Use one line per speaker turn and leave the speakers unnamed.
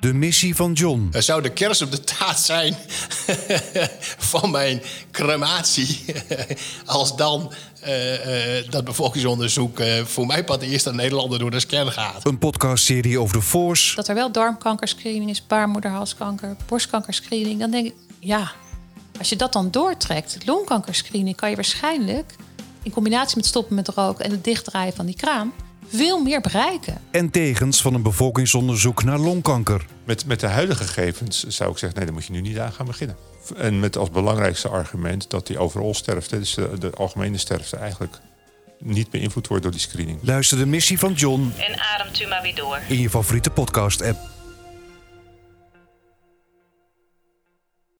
De missie van John.
Het Eh, zou de kers op de taart zijn van mijn crematie. Als dan eh, eh, dat bevolkingsonderzoek eh, voor mij pad eerst aan Nederlander door de scan gaat.
Een podcastserie over de force.
Dat er wel darmkankerscreening is, baarmoederhalskanker, borstkankerscreening. Dan denk ik, ja, als je dat dan doortrekt, longkankerscreening, kan je waarschijnlijk in combinatie met stoppen met roken en het dichtdraaien van die kraam veel meer bereiken.
En tegens van een bevolkingsonderzoek naar longkanker.
Met, met de huidige gegevens zou ik zeggen, nee, daar moet je nu niet aan gaan beginnen. En met als belangrijkste argument dat die overal sterfte, dus de, de algemene sterfte, eigenlijk niet beïnvloed wordt door die screening.
Luister de missie van John
En ademt u maar weer door.
in je favoriete podcast-app.